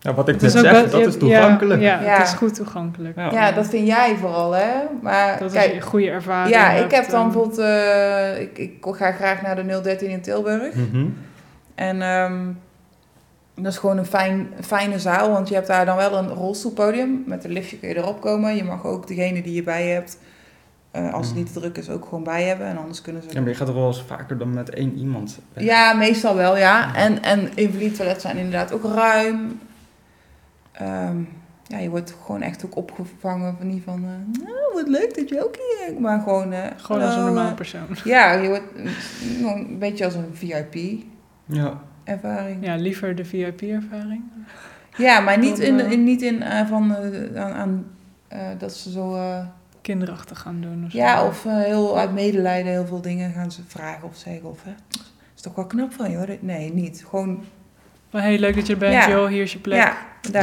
S1: Ja, wat ik
S4: Het
S1: net
S4: ook
S1: zeg,
S4: wel-
S1: dat
S4: je-
S1: is toegankelijk.
S4: Ja, ja,
S2: Ja.
S4: het is goed toegankelijk.
S1: Ja.
S2: Ja, dat vind jij vooral, hè? Maar
S4: Oh. Dat
S2: kijk,
S4: is een goede ervaring.
S2: Ja,
S4: hebt,
S2: ik heb dan
S4: eh,
S2: bijvoorbeeld... eh, ik, ik ga graag naar de 013 in Tilburg.
S1: Mhm.
S2: En ehm, dat is gewoon een fijn, fijne zaal, want je hebt daar dan wel een rolstoelpodium. Met een liftje kun je erop komen. Je mag ook degene die je bij je hebt, eh, als het
S1: Mm.
S2: niet te druk is, ook gewoon bij hebben. En anders kunnen ze...
S1: Ja, maar je gaat toch wel eens vaker dan met één iemand. weg?
S2: Ja, meestal wel, ja. En, en invalide toiletten zijn inderdaad ook ruim. Ehm, ja, je wordt gewoon echt ook opgevangen van niet van... eh, nou, wat leuk dat je ook hier... Maar gewoon... eh,
S4: Gewoon als een
S2: hallo,
S4: normaal
S2: eh.
S4: persoon.
S2: Ja, je wordt eh, gewoon een beetje als een VIP-ervaring.
S1: Ja.
S4: Ja, liever de VIP-ervaring.
S2: Ja, maar niet
S4: Dan,
S2: in,
S4: eh,
S2: in, niet in eh, van, eh, aan, aan, eh, dat ze zo... eh,
S4: Kinderachtig gaan doen of zo.
S2: ja, of eh, heel uit medelijden heel veel dingen gaan ze vragen of zeggen. Of, hè, is toch wel knap van je hoor. Dit- Nee, niet. Gewoon,
S4: Van, hey, leuk dat je er bent,
S2: Ja.
S4: joh, hier is je plek. Dus
S2: ja, daar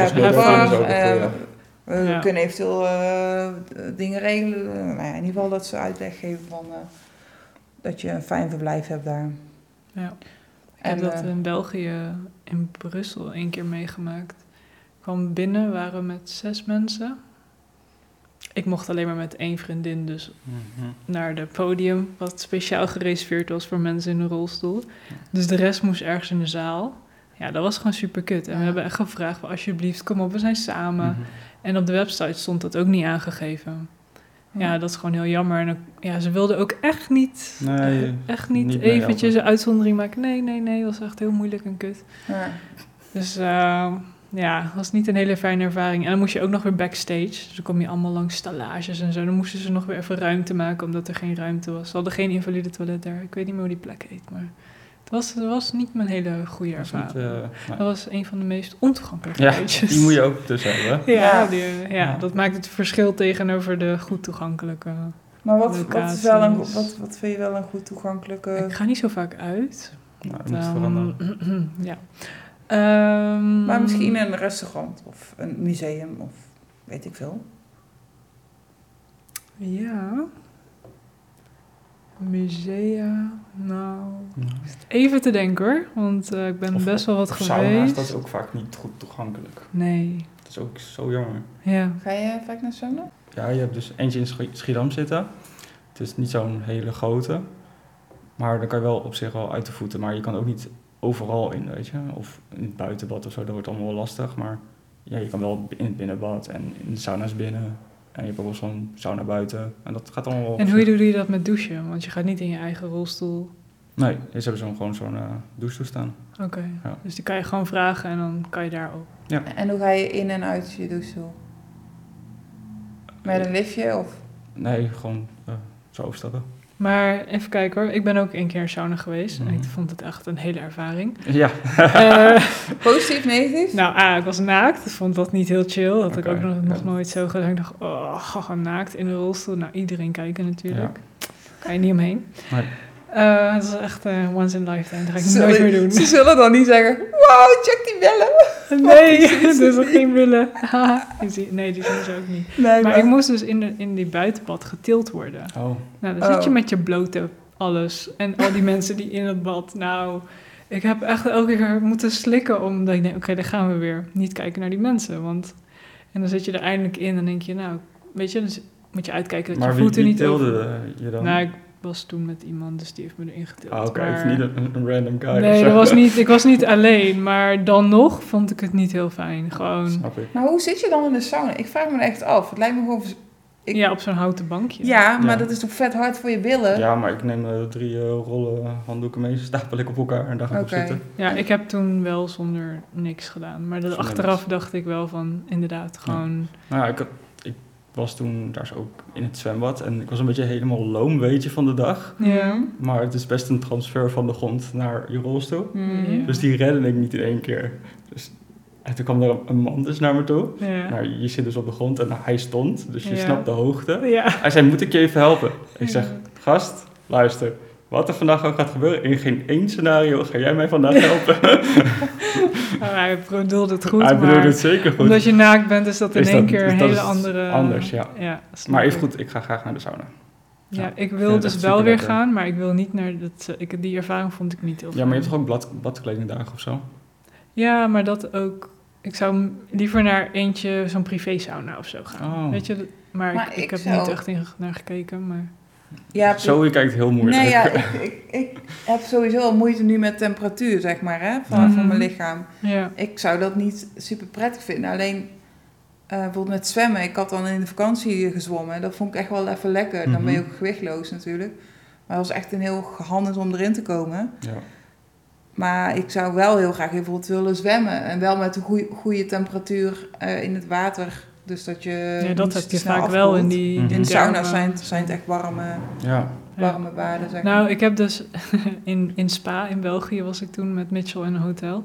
S1: Dat is
S2: heb je
S1: leuk,
S2: een
S1: dat
S2: bar.
S1: is ook een
S2: eh,
S1: goeie.
S2: we
S4: Ja.
S2: kunnen eventueel eh, dingen regelen. Nou ja, in ieder geval dat ze uitleg geven van... eh, dat je een fijn verblijf hebt daar.
S4: Ja. Ik
S2: En,
S4: heb dat
S2: eh,
S4: in België, in Brussel, één keer meegemaakt. Ik kwam binnen, waren we met zes mensen. Ik mocht alleen maar met één vriendin, dus
S1: Mhm.
S4: naar het podium, wat speciaal gereserveerd was voor mensen in een rolstoel. Dus de rest moest ergens in de zaal. Ja, dat was gewoon super kut. En we
S2: Ja. Mm.
S4: hebben echt gevraagd, alsjeblieft, kom op, we zijn samen.
S1: Mhm.
S4: En op de website stond dat ook niet aangegeven. Ja, dat is gewoon heel jammer. En ook- ja, ze wilden ook echt niet,
S1: Nee,
S4: eh, echt niet,
S1: niet
S4: eventjes
S1: meehelpen.
S4: een uitzondering maken. Nee, nee, nee, dat was echt heel moeilijk en kut.
S2: Ja.
S4: Dus eh, ja, het was niet een hele fijne ervaring. En dan moest je ook nog weer backstage. Dus dan kom je allemaal langs stallages en zo. Dan moesten ze nog weer even ruimte maken, omdat er geen ruimte was. Ze hadden geen invalide toilet daar. Ik weet niet meer hoe die plek heet, maar het was, het was niet mijn hele goede
S1: Dat is niet,
S4: ervaring.
S1: eh, nee.
S4: Dat was een van de meest ontoegankelijke
S1: Ja,
S4: uitjes.
S1: die moet je ook tussen hebben.
S4: Ja,
S2: Ja.
S4: die- ja,
S1: Ja.
S4: dat maakt het verschil tegenover de goed toegankelijke.
S2: Maar wat, wat, is wel een,
S4: Locaties.
S2: wat, wat vind je wel een goed toegankelijke...
S4: Ik ga niet zo vaak uit.
S1: Nou, dat
S4: want,
S1: moet
S4: ehm,
S1: veranderen.
S4: ja. Ehm,
S2: Maar misschien eh, een restaurant of een museum of weet ik veel.
S4: Ja. Musea. Nou.
S1: Ja.
S4: Even te denken hoor. Want eh, ik ben
S1: Of-
S4: best wel wat
S1: Of Sauna's,
S4: geweest.
S1: dat is ook vaak niet goed toegankelijk.
S4: Nee.
S1: Dat is ook zo jammer.
S4: Ja.
S2: Ga je vaak naar sauna?
S1: Ja, je hebt dus eentje in Schi- Schiedam zitten. Het is niet zo'n hele grote. Maar dan kan je wel op zich wel uit de voeten. Maar je kan ook niet overal in, weet je. Of in het buitenbad of zo, dat wordt allemaal wel lastig. Maar ja, je kan wel in het binnenbad en in de sauna's binnen. En je hebt ook wel zo'n sauna buiten. En dat gaat allemaal wel...
S4: En hoe doe je dat met douchen? Want je gaat niet in je eigen rolstoel.
S1: Nee, ze hebben zo'n, gewoon zo'n eh douche toestaan.
S4: Oké.
S1: Ja.
S4: Dus die kan je gewoon vragen en dan kan je daar ook.
S2: En hoe ga je in en uit je douche? Met een liftje of...
S1: Nee, gewoon eh, zo overstappen.
S4: Maar even kijken hoor. Ik ben ook een keer in sauna geweest. En ik
S1: Mhm.
S4: vond het echt een hele ervaring.
S1: Ja.
S4: Eh,
S2: Positief, negatief?
S4: Nou, A, ik was naakt. Ik vond dat niet heel chill. Dat had ik
S1: Oké,
S4: ook nog,
S1: ja.
S4: nog nooit zo gedaan. Ik dacht, oh, gaga, naakt in een rolstoel. Nou, iedereen kijken natuurlijk.
S1: Ja.
S2: Oké.
S4: Kan je niet omheen.
S1: Nee.
S4: Eh, dat is echt eh, once in a lifetime. Dat ga ik nooit
S2: Sorry.
S4: meer doen.
S2: Ze zullen dan niet zeggen, wow, check die bellen.
S4: Nee, dus nog geen willen. Haha, die zie- nee, die zien ze ook niet.
S2: Nee,
S4: Maar ik moest dus in, de, in die buitenbad getild worden.
S1: Oh,
S4: Nou, dan zit je
S2: Oh.
S4: met je blote alles. En al die mensen die in het bad. Nou, ik heb echt elke keer moeten slikken. Omdat ik denk, oké, daar gaan we weer. Niet kijken naar die mensen. Want... En dan zit je er eindelijk in en denk je, nou, weet je, dan z- moet je uitkijken dat
S1: maar
S4: je
S1: wie,
S4: voeten
S1: wie
S4: niet over-
S1: tilde je dan?
S4: Nou, ik was toen met iemand, dus die heeft me erin getild.
S1: Ah, Oké,
S4: Maar-
S1: het is niet een, een random guy. of
S4: Nee,
S1: zo.
S4: dat was niet, ik was niet alleen. Maar dan nog vond ik het niet heel fijn. Gewoon,
S1: Snap ik.
S2: Maar hoe zit je dan in de sauna? Ik vraag me echt af. Het lijkt me gewoon... vers- Ik-
S4: ja, op zo'n houten bankje.
S2: Ja, maar
S1: Ja.
S2: dat is toch vet hard voor je billen?
S1: Ja, maar ik neem eh, drie eh, rollen handdoeken mee, stapel ik op elkaar en daar ga ik
S2: Oké.
S1: op zitten.
S4: Ja, ik heb toen wel zonder niks gedaan. Maar dat
S1: Zonder
S4: achteraf
S1: niks.
S4: dacht ik wel van, inderdaad, gewoon...
S1: Nou ja, ik, had- ik was toen daar zo ook in het zwembad en ik was een beetje helemaal loom, weet je, van de dag.
S4: Ja.
S1: Maar het is best een transfer van de grond naar je rolstoel.
S2: Hmm.
S4: Ja.
S1: Dus die redde ik niet in één keer. Dus, en toen kwam er een- een man dus naar me toe.
S4: Ja.
S1: Nou, je zit dus op de grond en hij stond, dus je
S4: Ja.
S1: snapt de hoogte.
S4: ja.
S1: Hij zei, moet ik je even helpen? Ik zeg,
S4: Ja.
S1: gast, luister. Wat er vandaag ook gaat gebeuren, in geen één scenario ga jij mij vandaag helpen.
S4: Nou, hij bedoelde het goed,
S1: hij bedoelde
S4: maar
S1: het zeker goed.
S4: omdat je naakt bent is dat in
S1: Is
S4: één
S1: dat-
S4: keer
S1: is
S4: een
S1: dat
S4: hele
S1: is
S4: andere...
S1: anders, ja.
S4: snap
S1: Maar
S4: ik.
S1: even goed, ik ga graag naar de sauna.
S4: Ja,
S1: Ja,
S4: ik
S1: vind
S4: wil
S1: het
S4: dus
S1: echt
S4: wel weer
S1: superlekker.
S4: gaan, maar ik wil niet naar... Dat, ik, die ervaring vond ik niet heel
S1: Ja, maar je
S4: fijn.
S1: hebt toch ook bad, badkledingdagen of zo?
S4: Ja, maar dat ook... Ik zou m- liever naar eentje, zo'n privé sauna of zo gaan.
S1: Oh.
S4: Weet je, dat- maar,
S2: Maar
S4: ik,
S2: ik
S4: ik heb
S2: zou-
S4: niet echt in, naar gekeken, maar...
S2: Ja,
S1: zo, je kijkt heel moeilijk.
S2: Nee, ja, ik, ik, ik heb sowieso al moeite nu met temperatuur, zeg maar, hè, van,
S4: Ja.
S2: van mijn lichaam.
S4: Ja,
S2: Ik zou dat niet super prettig vinden. Alleen, eh, bijvoorbeeld met zwemmen. Ik had dan in de vakantie gezwommen. Dat vond ik echt wel even lekker. Dan ben je
S1: Mhm.
S2: ook gewichtloos natuurlijk. Maar dat was echt een heel gehandeld om erin te komen.
S1: Ja.
S2: Maar ik zou wel heel graag bijvoorbeeld willen zwemmen. En wel met een goeie- goede temperatuur eh, in het water. Dus dat je
S4: ja dat
S2: niet
S4: heb
S2: te
S4: je
S2: snel
S4: vaak wel in
S2: afkoelt.
S4: die...
S1: Mhm.
S2: In de sauna's
S4: dermen.
S2: zijn, het- zijn het echt warme,
S1: ja.
S4: Ja.
S2: warme baden, zeg
S4: Nou,
S2: maar.
S4: ik heb dus in, in Spa in België was ik toen met Mitchell in een hotel.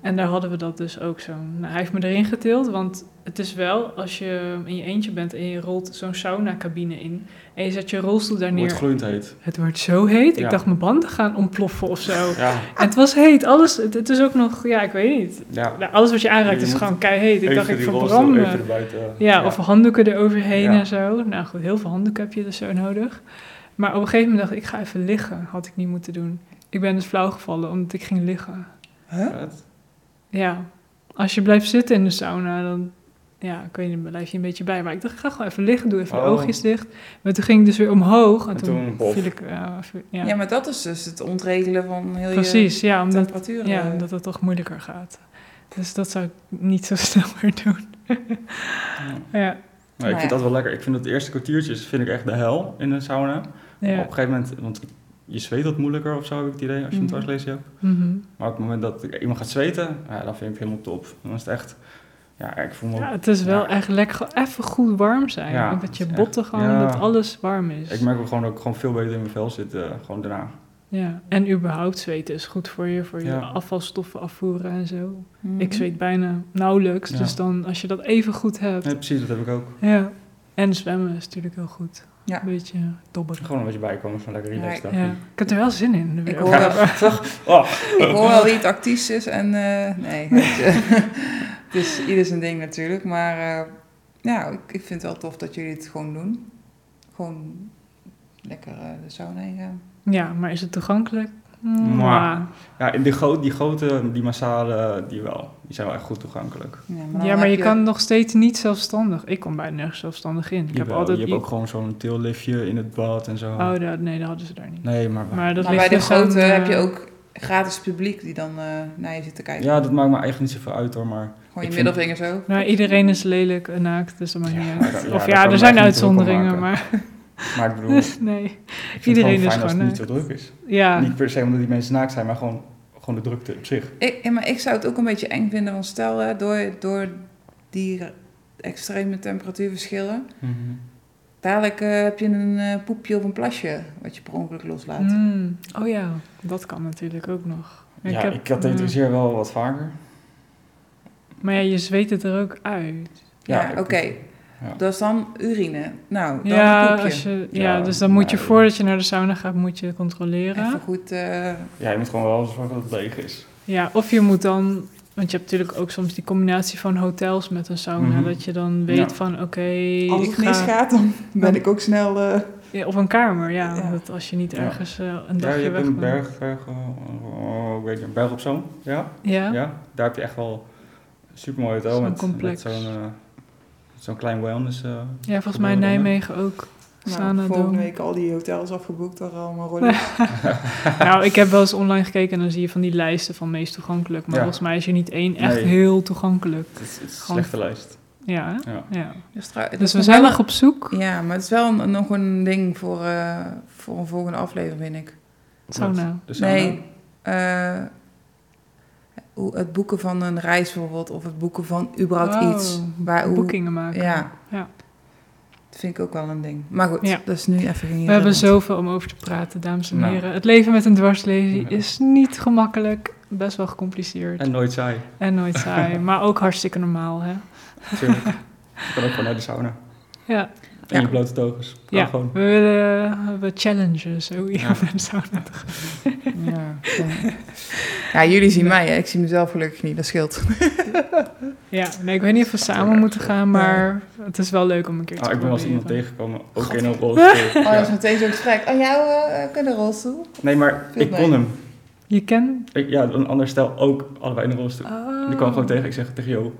S4: En daar hadden we dat dus ook zo. Nou, hij heeft me erin getild, want het is wel als je in je eentje bent en je rolt zo'n sauna-cabine in. En je zet je rolstoel daar
S1: Het wordt
S4: neer.
S1: gloeiend heet.
S4: Het wordt zo heet.
S1: Ja.
S4: Ik dacht mijn banden gaan ontploffen of zo.
S1: Ja,
S4: En het was heet. Alles, het, het is ook nog, ja, ik weet niet.
S1: ja.
S4: Nou, alles wat je aanraakt
S1: Je
S4: is
S1: moet
S4: gewoon keiheet. Ik dacht,
S1: Even
S4: ik
S1: die rolstoel
S4: verbrand me.
S1: Even erbuiten.
S4: Ja, of handdoeken eroverheen
S1: Ja.
S4: en zo. Nou goed, heel veel handdoeken heb je dus zo nodig. Maar op een gegeven moment dacht ik, ik ga even liggen. Had ik niet moeten doen. Ik ben dus flauw gevallen omdat ik ging liggen.
S2: Huh?
S1: Vet.
S4: Ja, als je blijft zitten in de sauna, dan ja, ik weet niet, dan blijf je een beetje bij. Maar ik dacht, ik ga gewoon even liggen, doe even de
S1: Oh.
S4: oogjes dicht. Maar toen ging ik dus weer omhoog. En,
S1: En
S4: toen,
S1: toen bof.
S4: viel ik... eh, viel- ja.
S2: Ja. maar dat is dus het ontregelen van heel
S4: precies. Ja,
S2: je
S4: omdat,
S2: temperatuur.
S4: ja,
S2: eh.
S4: omdat het toch moeilijker gaat. Dus dat zou ik niet zo snel meer doen.
S1: Ja.
S4: Ja,
S1: Nou, ik
S2: ja.
S1: vind dat wel lekker. Ik vind dat de eerste kwartiertjes vind ik echt de hel in een sauna. Maar Op
S4: ja.
S1: een gegeven moment, want je zweet wat moeilijker of zo, heb ik het idee, als je een
S2: Mhm.
S1: dwarslezen hebt.
S4: Mhm.
S1: Maar op het moment dat iemand gaat zweten, ja, dan vind ik het helemaal top. Dan is het echt, ja, ik voel me...
S4: Ja, het is wel
S1: Ja.
S4: echt lekker gewoon even goed warm zijn.
S1: Ja,
S4: Ook dat je
S1: het is
S4: botten
S1: echt-
S4: gewoon,
S1: ja.
S4: dat alles warm is.
S1: Ik merk ook gewoon dat ik gewoon veel beter in mijn vel zit, eh, gewoon daarna.
S4: Ja, en überhaupt zweten is goed voor je, voor je
S1: Ja.
S4: afvalstoffen afvoeren en zo.
S2: Mhm.
S4: Ik zweet bijna nauwelijks,
S1: Ja.
S4: dus dan als je dat even goed hebt.
S1: Nee, precies, dat heb ik ook.
S4: Ja. En zwemmen is natuurlijk heel goed.
S2: Ja.
S4: Een beetje dobberen.
S1: Gewoon een beetje bijkomen, zo'n lekker relaxed
S2: Ja,
S1: dag.
S4: Ja. Ik heb er wel zin in.
S2: Ik
S4: Ja.
S2: hoor,
S4: Ja.
S2: wel,
S1: Oh,
S2: ik hoor wel wie het actief is en eh, nee. weet je. het is ieder zijn ding natuurlijk, maar eh, ja, ik, ik vind het wel tof dat jullie het gewoon doen. Gewoon lekker eh, de sauna in gaan.
S4: maar is het toegankelijk?
S1: Mwah.
S4: Ja.
S1: ja, en die, gro die grote, die massale, die wel. Die zijn wel echt goed toegankelijk.
S2: dan
S4: Ja, maar
S2: heb
S4: je kan nog steeds niet zelfstandig. Ik kom bijna nergens zelfstandig in. Ik heb
S1: Jawel,
S4: altijd
S1: je
S4: i-
S1: hebt ook gewoon zo'n teelliftje in het bad en zo.
S4: Oh, dat, nee, dat hadden ze daar niet.
S1: Nee, maar...
S4: Maar, dat
S2: maar bij de
S4: ligt dus aan,
S2: grote
S4: eh,
S2: heb je ook gratis publiek die dan eh, naar je zit te kijken.
S1: Ja, dat maakt me eigenlijk niet zoveel uit hoor, maar...
S2: gewoon
S1: ik
S2: je
S1: vind-
S2: middelvinger zo.
S4: Nou, iedereen is lelijk en naakt, dus dat maakt niet
S1: Ja,
S4: uit.
S1: dat- ja,
S4: of
S1: daar
S4: ja,
S1: kan
S4: er
S1: ik
S4: zijn
S1: me echt niet druk om
S4: uitzonderingen,
S1: maken.
S4: maar
S1: Maar ik bedoel, ik
S4: nee.
S1: vind het gewoon fijn
S4: Iedereen is
S1: als
S4: gewoon
S1: het niet
S4: leuk.
S1: zo druk is.
S4: Ja,
S1: Niet per se omdat die mensen naakt zijn, maar gewoon, gewoon de drukte op zich.
S2: Ik, ja, maar ik zou het ook een beetje eng vinden, want stel hè, door, door die extreme temperatuurverschillen, dadelijk eh, heb je een eh, poepje of een plasje wat je per ongeluk loslaat.
S4: Mm. oh ja, dat kan natuurlijk ook nog.
S1: Ja, ik, had
S4: ja.
S1: deze zeer wel wat vaker.
S4: Maar ja, je zweet het er ook uit.
S2: Ja,
S1: Ja, ik-
S2: oké.
S1: Ja.
S2: Dat is dan urine. Nou, dan
S4: Ja,
S2: een poepje.
S4: als je, ja,
S1: Ja,
S4: dus dan moet je
S1: maar-
S4: voordat je naar de sauna gaat, moet je controleren.
S2: Even goed... eh,
S1: Ja, je moet gewoon wel zorgen dat het leeg is.
S4: Ja, of je moet dan, want je hebt natuurlijk ook soms die combinatie van hotels met een sauna,
S1: Mhm.
S4: dat je dan weet
S1: Ja.
S4: van oké,
S2: als
S4: ik
S2: het
S4: ga
S2: misgaat, dan ben ik ook snel... eh,
S4: Ja, op een kamer, ja,
S2: Ja.
S4: dat als je niet
S1: Ja.
S4: ergens eh, een
S1: Ja,
S4: dagje
S1: je hebt
S4: weg
S1: een
S4: bent.
S1: berg, berg, eh, oh, ik weet niet, berg op zo'n. Ja?
S4: Ja,
S1: Ja? daar heb je echt wel een supermooi hotel
S4: Zo'n
S1: met, met
S4: complex.
S1: zo'n eh, zo'n klein wellness. eh,
S4: ja, volgens mij
S1: Geboren dan, hè?
S4: Nijmegen ook.
S2: Nou,
S4: Sauna
S2: volgende
S4: Dome.
S2: week al die hotels afgeboekt waar allemaal rollen.
S4: Nou, ik heb wel eens online gekeken en dan zie je van die lijsten van meest toegankelijk. Maar
S1: Ja.
S4: volgens mij is er niet één echt
S1: Nee.
S4: heel toegankelijk.
S1: het is, het is een
S4: Gewoon-
S1: slechte lijst.
S4: Ja, hè?
S1: Ja.
S4: ja.
S2: Dus, trouw- dat
S4: Dus
S2: is
S4: we
S2: nog
S4: zijn
S2: wel-
S4: nog op zoek.
S2: Ja, maar het is wel een- nog een ding voor, eh, voor een volgende aflevering, vind ik.
S4: Sauna.
S1: Dus
S2: nee, eh, hoe- het boeken van een reis bijvoorbeeld, of het boeken van überhaupt
S4: Wow,
S2: iets. Waar, hoe,
S4: Boekingen Oh, maken.
S2: Ja.
S4: Ja.
S2: Dat vind ik ook wel een ding. Maar goed,
S4: Ja.
S2: dat is nu even geen
S4: We hebben zoveel om over te praten, dames en
S1: Nou.
S4: heren. Het leven met een dwarslesie
S1: Ja.
S4: is niet gemakkelijk, best wel gecompliceerd en,
S1: En nooit saai.
S4: nooit saai, maar ook hartstikke normaal. Hè?
S1: Tuurlijk. je kan ook gewoon naar de sauna.
S4: Ja,
S1: En
S2: Ja.
S1: je blote togens. Kan
S4: ja. we
S1: gewoon.
S4: willen we challengen zo
S1: Ja.
S4: iemand en zo. net.
S2: Ja, ja, jullie zien mij, hè. ik zie mezelf gelukkig niet, dat scheelt.
S4: Ja, nee, ik weet niet of we samen moeten gaan, maar het is wel leuk om een keer te
S1: Ah, ik ben wel eens iemand
S4: proberen.
S1: tegengekomen, ook in een rolstoel.
S2: Oh, dat is
S1: Ja.
S2: meteen zo'n gesprek. Oh, jou eh kan de rolstoel?
S1: Nee, maar
S2: Viel
S1: ik
S2: mee.
S1: kon hem.
S4: Je kent...
S1: Ik, ja, een ander stel ook allebei in een rolstoel.
S4: Oh.
S1: Die kwam gewoon tegen. Ik zeg tegen Jo,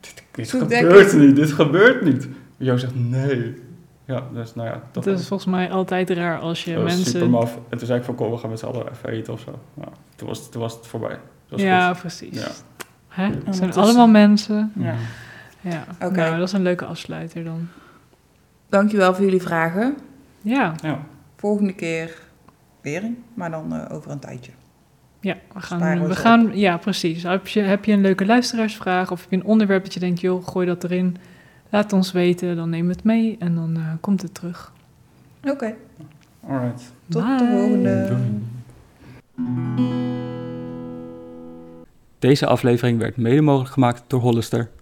S1: dit, dit
S2: Goed
S1: gebeurt
S2: denken.
S1: niet, dit gebeurt niet. Jo zegt nee. Ja, dus nou ja, dat Oh,
S4: Het is volgens mij altijd raar als je
S1: dat was super
S4: mensen...
S1: maf. En toen zei ik van kom, we gaan met z'n allen even eten of zo. Nou, toen, was, toen was het voorbij. Dat was
S4: Ja,
S1: goed.
S4: precies.
S1: Ja.
S4: Hè? Het zijn
S2: Ondertussen.
S4: allemaal mensen.
S2: Ja.
S1: Mhm.
S4: Ja,
S2: Oké.
S4: nou, dat is een leuke afsluiter dan.
S2: Dankjewel voor jullie vragen.
S4: Ja,
S2: Volgende keer weer, een, maar dan eh, over een tijdje.
S4: Ja, we
S2: Sparen
S4: gaan,
S2: we
S4: we
S2: ze
S4: gaan ja, precies. Heb je, heb je een leuke luisteraarsvraag of heb je een onderwerp dat je denkt, joh, gooi dat erin. Laat ons weten, dan nemen we het mee en dan eh, komt het terug.
S2: Oké,
S1: Alright.
S2: tot de
S4: Bye.
S2: volgende.
S1: Deze aflevering werd mede mogelijk gemaakt door Hollister.